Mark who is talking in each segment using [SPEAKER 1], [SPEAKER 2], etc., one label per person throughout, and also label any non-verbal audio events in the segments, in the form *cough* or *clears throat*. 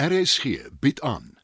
[SPEAKER 1] RSG bied aan.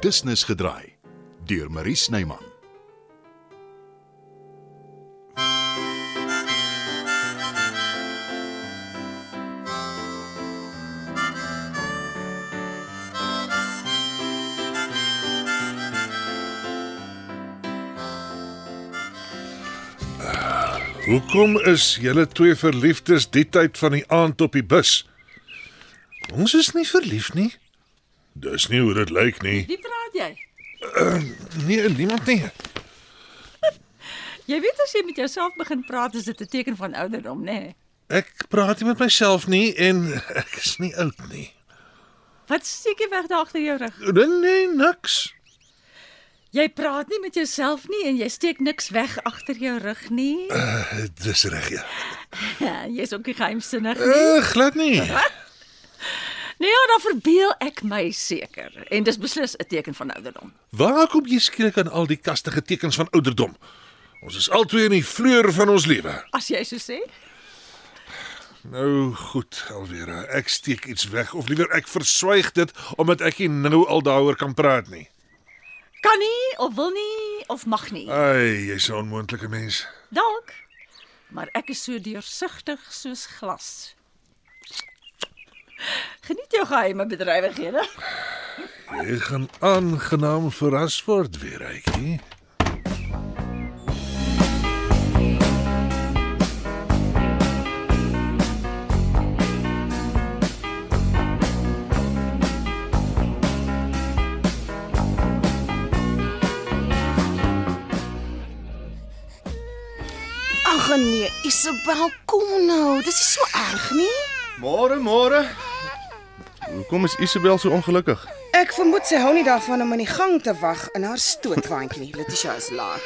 [SPEAKER 1] Business gedraai deur Marie Snyman.
[SPEAKER 2] Hoekom is julle twee verliefdes die tyd van die aand op die bus? Ons is nie verlief nie. Dis nie hoe dit lyk nie.
[SPEAKER 3] Wie praat jy?
[SPEAKER 2] Nee, niemand nie.
[SPEAKER 3] Jy weet as jy met jouself begin praat, is dit 'n teken van ouderdom, nê? Nee?
[SPEAKER 2] Ek praat nie met myself nie en ek is nie oud nie.
[SPEAKER 3] Wat steek jy weg daar agter jou rug?
[SPEAKER 2] Nee, nee niks.
[SPEAKER 3] Jy praat nie met jouself nie en jy steek niks weg agter jou rug nie. *clears throat*
[SPEAKER 2] Dis reg ja.
[SPEAKER 3] Ja, Jy's ook nie geheimsinnig nie.
[SPEAKER 2] Eh, glad nie.
[SPEAKER 3] Nee, ja, dan verbeel ek my seker en dis beslis 'n teken van ouderdom.
[SPEAKER 2] Waar kom jy skielik aan al die kastige tekens van ouderdom? Ons is albei in die vleur van ons lewe.
[SPEAKER 3] As jy so sê.
[SPEAKER 2] Nou goed, Alvera, ek steek iets weg of liewer ek verswyg dit omdat ek nie nou al daaroor kan praat nie.
[SPEAKER 3] Kan nie of wil nie of mag nie.
[SPEAKER 2] Ai, jy's 'n onmoontlike mens.
[SPEAKER 3] Dalk. Maar ek is so deursigtig soos glas. Geniet jou geheime bedrywighede.
[SPEAKER 2] Jy gaan aangenaam verras word weer, Rykie.
[SPEAKER 4] Ag nee, Isabel, kom nou. Dis nie so erg nie.
[SPEAKER 5] Môre, môre. Hoekom is Isabel so ongelukkig?
[SPEAKER 4] Ek vermoed sy hou nie daarvan om in die gang te wag in haar stootwaandjie nie. Letitia is laat.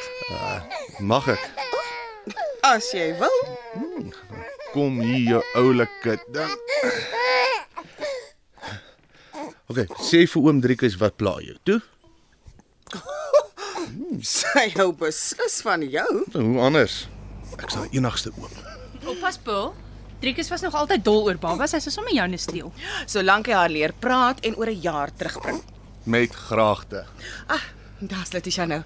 [SPEAKER 5] Mag ek?
[SPEAKER 4] As jy wil.
[SPEAKER 5] Kom hier, jou oulike ding. OK, sê vir oom Driekus wat pla jou. Toe.
[SPEAKER 4] Sy hou beslis van jou.
[SPEAKER 5] Nou, Hoe anders? Ek sal enigste oom.
[SPEAKER 6] Oppas, Paul. Driekus was nog altyd dol oor babas. Hy sou sommer joune steel.
[SPEAKER 4] Solank jy haar leer praat en oor 'n jaar terugbring.
[SPEAKER 5] Met graagte.
[SPEAKER 4] Ag, Ah, daar's Letitia nou.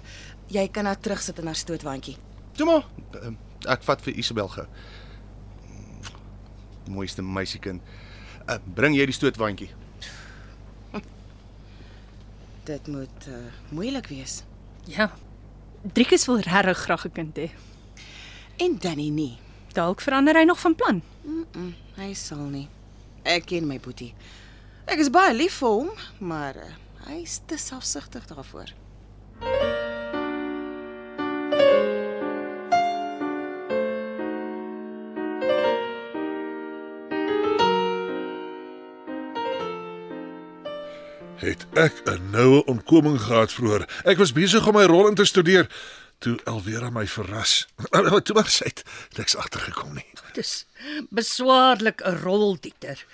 [SPEAKER 4] Jy kan haar terugsit in haar stootwaandjie.
[SPEAKER 5] Toe maar. Ehm, Ek vat vir Isabel ge. Mooiste meisiekind. Eh, Bring jy die stootwandjie.
[SPEAKER 4] Dit moet uh, moeilik wees.
[SPEAKER 6] Ja. Driekus wil regtig graag 'n kind hê.
[SPEAKER 4] En Danny nie.
[SPEAKER 6] Dalk verander hy nog van plan.
[SPEAKER 4] Hy sal nie. Ek ken my boetie. Ek is baie lief vir hom, maar uh, hy is te selfsugtig daarvoor.
[SPEAKER 2] Het ek 'n noue ontkoming gehad vroeër. Ek was besig om my rol in te studeer toe Alvera my verras. *clears throat* toe maar sy het niks agtergekom nie.
[SPEAKER 7] Dis beswaarlik 'n rol, Dieter.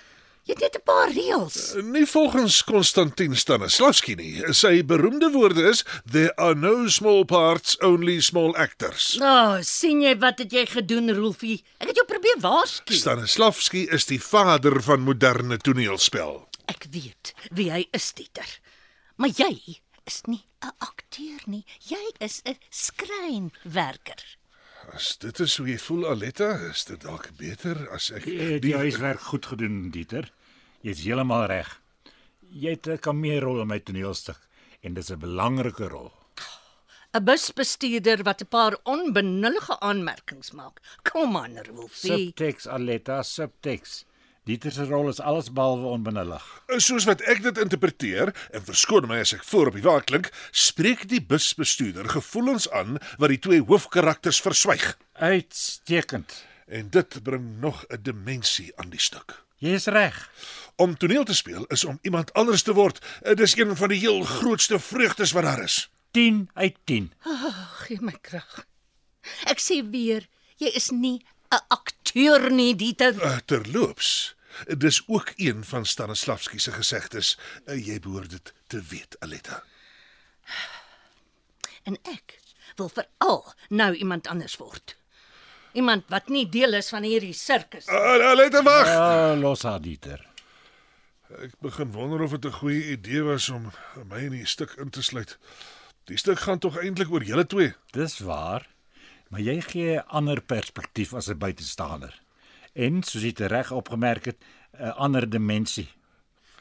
[SPEAKER 7] Jy het net 'n paar reëls.
[SPEAKER 2] Nie volgens Konstantin Stanislavski nie. Sy beroemde woorde is there are no small parts, only small actors.
[SPEAKER 7] Nou, oh, sien jy wat het jy gedoen, Rolfie? Ek het jou probeer waarsku.
[SPEAKER 2] Stanislavski is die vader van moderne toneelspel.
[SPEAKER 7] Ek weet wie hy is, Dieter. Maar jy is nie 'n akteur nie. Jy is 'n skrynwerker.
[SPEAKER 2] As dit is hoe jy voel, Aletta, is dit dalk beter as ek
[SPEAKER 8] Jy het jou eh, huiswerk goed gedoen, Dieter. Jy's heeltemal reg. Jy het 'n kameerrol in my toneelstuk en dis 'n belangrike rol.
[SPEAKER 7] 'n Busbestuurder wat 'n paar onbenullige aanmerkings maak. Kom aan, Rolfie.
[SPEAKER 8] Subteks Aletta, subteks. Dieter se rol is allesbehalwe onbenullig.
[SPEAKER 2] Soos wat ek dit interpreteer, en verskoon my as ek voor op die waak klink, spreek die busbestuurder gevoelens aan wat die twee hoofkarakters verswyg.
[SPEAKER 8] Uitstekend.
[SPEAKER 2] En dit bring nog 'n dimensie aan die stuk.
[SPEAKER 8] Jy's reg.
[SPEAKER 2] Om toneel te speel is om iemand anders te word. Dit is een van die heel grootste vreugdes wat daar is.
[SPEAKER 8] 10 uit 10.
[SPEAKER 7] Gee my krag. Ek sê weer, jy is nie 'n akteur nie, Dieter.
[SPEAKER 2] Uh, terloops, dis ook een van Stanislavski se gesegdes. Uh, jy behoort dit te weet, Aletta.
[SPEAKER 7] En ek wil veral nou iemand anders word. Iemand wat nie deel is van hierdie sirkus.
[SPEAKER 2] Hulle het wag.
[SPEAKER 8] Ah, los haar Dieter.
[SPEAKER 2] Eh, Ek begin wonder of dit 'n goeie idee was om my in die stuk in te sluit. Die stuk gaan tog eintlik oor julle twee.
[SPEAKER 8] Dis waar. Maar jy gee 'n ander perspektief as 'n buitestander. En soos jy reg opgemerk het, 'n ander dimensie.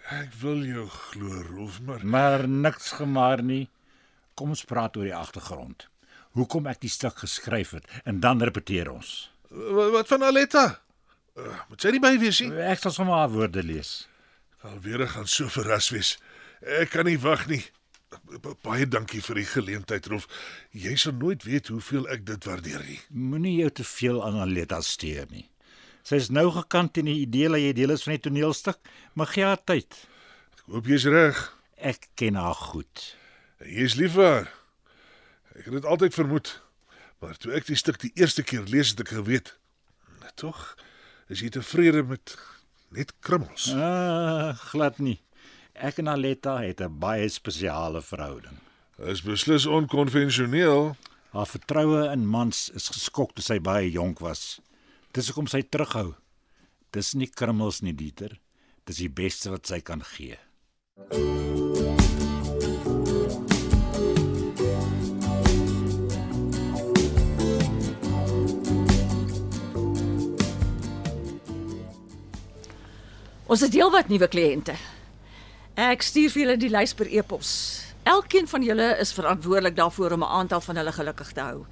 [SPEAKER 2] Ek wil jou glo, Rolf, maar
[SPEAKER 8] Maar niks gemaar nie. Kom ons praat oor die agtergrond. Hoekom ek die stuk geskryf het en dan repeteer ons.
[SPEAKER 2] Wa- wat van Aletta? Uh, moet sy nie by wees nie?
[SPEAKER 8] Ek sal sommer haar woorde lees.
[SPEAKER 2] Alweer gaan so verras wees. Ek kan nie wag nie. Ba- Baie dankie vir die geleentheid, Rolf. Jy sal nooit weet hoeveel ek dit waardeer nie.
[SPEAKER 8] Moenie jou te veel aan Aletta steur nie. Sy is nou gekant teen die idee dat jy deel is van die toneelstuk, maar gee haar tyd.
[SPEAKER 2] Ek hoop jy's reg.
[SPEAKER 8] Ek ken haar goed.
[SPEAKER 2] Jy's lief vir haar. Ek het dit altyd vermoed. Maar toe ek die stuk die eerste keer lees, het ek geweet. Tog is jy tevrede met net krummels.
[SPEAKER 8] Ah, glad nie. Ek en Aletta het 'n baie spesiale verhouding.
[SPEAKER 2] Is beslis onkonvensioneel.
[SPEAKER 8] Haar vertroue in mans is geskok toe sy baie jonk was. Dis hoekom sy terughou. Dis nie krummels nie, Dieter. Dis die beste wat sy kan gee.
[SPEAKER 3] Ons het heelwat nuwe kliënte. Ek stuur vir julle die lys per e-pos. Elkeen van julle is verantwoordelik daarvoor om 'n aantal van hulle gelukkig te hou.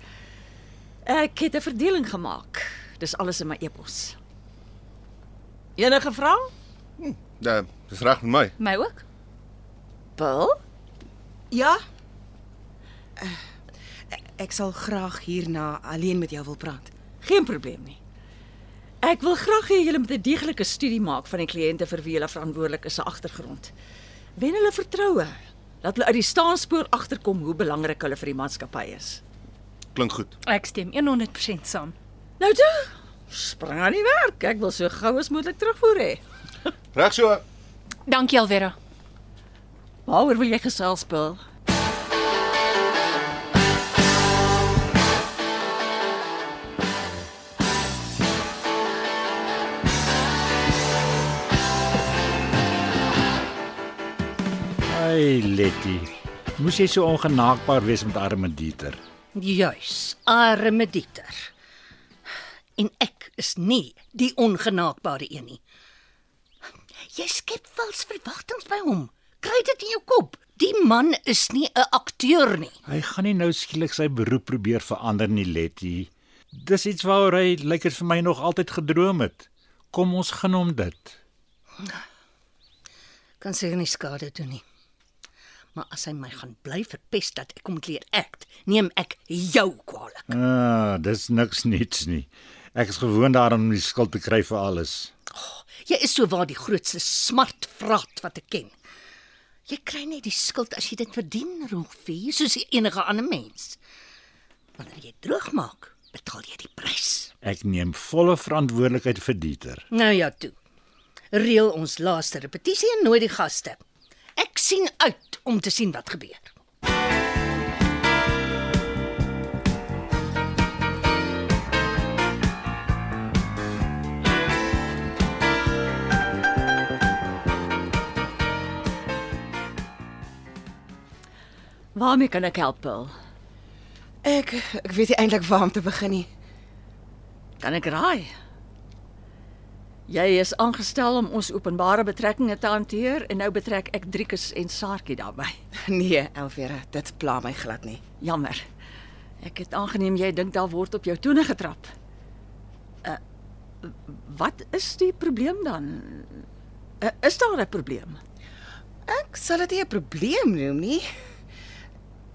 [SPEAKER 3] Ek het 'n verdeling gemaak. Dis alles in my e-pos. Enige vrae?
[SPEAKER 5] Ja, dis reg met my.
[SPEAKER 6] My ook.
[SPEAKER 3] Bill?
[SPEAKER 4] Ja. Eh, Ek sal graag hierna alleen met jou wil praat.
[SPEAKER 3] Geen probleem nie. Ek wil graag hê julle moet 'n deeglike studie maak van die kliënte vir wie hulle verantwoordelik is se agtergrond. Wen hulle vertroue. Laat hulle uit die staanspoor agterkom hoe belangrik hulle vir die maatskappy is.
[SPEAKER 5] Klink goed.
[SPEAKER 6] Ek stem 100% saam.
[SPEAKER 3] Nou toe, spring aan die werk. Ek wil so gou as moontlik terugvoer hê.
[SPEAKER 5] Reg so.
[SPEAKER 6] Dankie Alvera.
[SPEAKER 3] Waaroor wil jy gesels, Bill?
[SPEAKER 8] Ai, Letty. Moes jy so ongenaakbaar wees met arme Dieter?
[SPEAKER 7] Juis, arme Dieter. En ek is nie die ongenaakbare een nie. Jy skep vals verwagtinge by hom. Kry dit in jou kop. Die man is nie 'n akteur nie.
[SPEAKER 8] Hy gaan nie nou skielik sy beroep probeer verander nie, Letty. Dis iets waaroor hy lyk dit vir my nog altyd gedroom het. Kom ons gun hom dit.
[SPEAKER 7] Kan seker nie skade doen nie. Maar as hy my gaan bly verpes dat ek moet leer act, neem ek jou kwaliek.
[SPEAKER 8] Ah, dis niks niets nie. Ek is gewoond daaraan om die skuld te kry vir alles.
[SPEAKER 7] Jy is sowaar die grootste smartvraat wat ek ken. Jy kry net die skuld as jy dit verdien, Rolfie, soos enige ander mens. Wanneer jy droog maak, betaal jy die prys.
[SPEAKER 8] Ek neem volle verantwoordelikheid vir Dieter.
[SPEAKER 7] Nou ja, toe. Reël ons laaste repetisie en nooi die gaste. Ek sien uit om te sien wat gebeur.
[SPEAKER 3] Waarmee kan ek help, Bill?
[SPEAKER 4] Ek ek weet nie eintlik waar om te begin nie.
[SPEAKER 3] Kan ek raai? Jy is aangestel om ons openbare betrekkinge te hanteer en nou betrek ek Driekus en Saartjie daarbey.
[SPEAKER 4] *laughs* Nee, Elvira, dit pla my glad nie.
[SPEAKER 3] Jammer. Ek het aangeneem jy dink daar word op jou tone getrap. Uh, wat is die probleem dan? Uh, is daar 'n probleem?
[SPEAKER 4] Ek sal dit nie 'n probleem noem nie.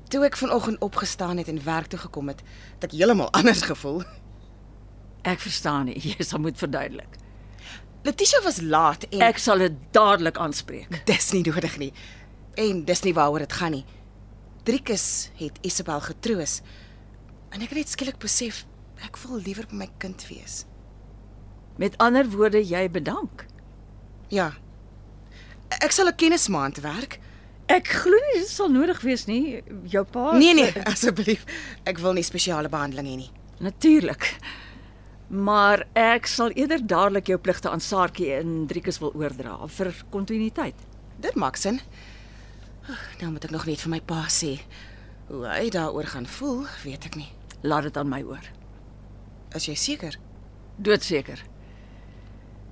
[SPEAKER 4] Toe ek vanoggend opgestaan het en werk toe gekom het, het ek heeltemal *laughs* anders gevoel.
[SPEAKER 3] Ek verstaan nie. *laughs* Jy sal moet verduidelik.
[SPEAKER 4] Letitia was laat en
[SPEAKER 3] Ek sal dit dadelik aanspreek.
[SPEAKER 4] dis nie nodig nie. En dis nie waaroor dit gaan nie. Driekus het Isabel getroos. En ek het net skielik besef ek wil liewer by my kind wees.
[SPEAKER 3] Met ander woorde, jy bedank.
[SPEAKER 4] Ja. Ek sal 'n kennismaand werk.
[SPEAKER 3] Ek glo nie dit sal nodig wees nie. Jou pa
[SPEAKER 4] *laughs* Nee nee, asseblief. Ek wil nie spesiale behandeling hê nie.
[SPEAKER 3] Natuurlik. Maar ek sal eerder dadelik jou pligte aan Saartjie en Driekus wil oordra vir kontinuïteit.
[SPEAKER 4] Dit maak sin. Nou moet ek nog net vir my pa sê hoe hy daaroor gaan voel, weet ek nie.
[SPEAKER 3] Laat dit aan my oor.
[SPEAKER 4] Is jy seker?
[SPEAKER 3] Doodseker.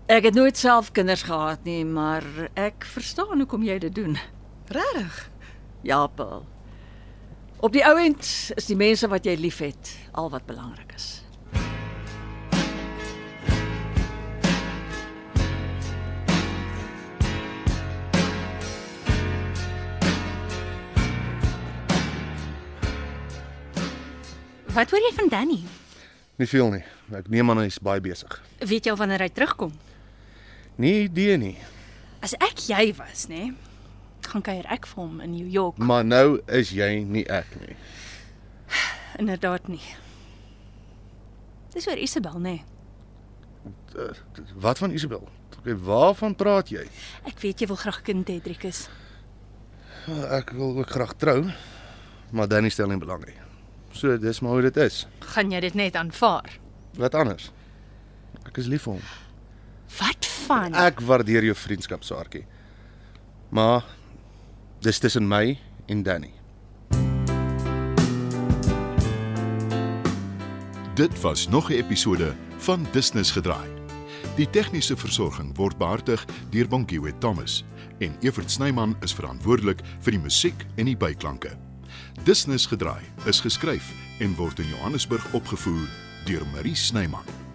[SPEAKER 3] Ek het nooit self kinders gehad nie, maar ek verstaan hoekom jy dit doen.
[SPEAKER 4] Regtig?
[SPEAKER 3] Ja, Paul. Op die ou end is die mense wat jy liefhet al wat belangrik is.
[SPEAKER 6] Wat hoor jy van Danny?
[SPEAKER 5] Nie veel nie. Ek neem aan hy's baie besig.
[SPEAKER 6] Weet jy al wanneer hy terugkom?
[SPEAKER 5] Nie idee nie,
[SPEAKER 6] As ek jy was, nê, gaan kuier ek vir hom in New York.
[SPEAKER 5] maar nou is jy nie ek nie.
[SPEAKER 6] Inderdaad nie. Dis oor Isabel, nê.
[SPEAKER 5] Eh, Wat van Isabel? Okay, waarvan praat jy?
[SPEAKER 6] Ek weet jy wil graag kind hê, Driekus.
[SPEAKER 5] Wel, Ah, Ek wil ook graag trou, maar Danny stel nie belang nie. So dis maar hoe dit is.
[SPEAKER 6] Gaan jy dit net aanvaar?
[SPEAKER 5] Wat anders? Ek is lief vir hom.
[SPEAKER 6] Wat van?
[SPEAKER 5] Ek waardeer jou vriendskap, Saartjie. Maar dis tussen my en Danny.
[SPEAKER 1] Dit was nog 'n episode van Business gedraai. Die tegniese versorging word behartig deur Bonnie Witt Thomas en Evert Snyman is verantwoordelik vir die musiek en die byklanke. Business gedraai is geskryf en word in Johannesburg opgevoer deur Marie Snyman.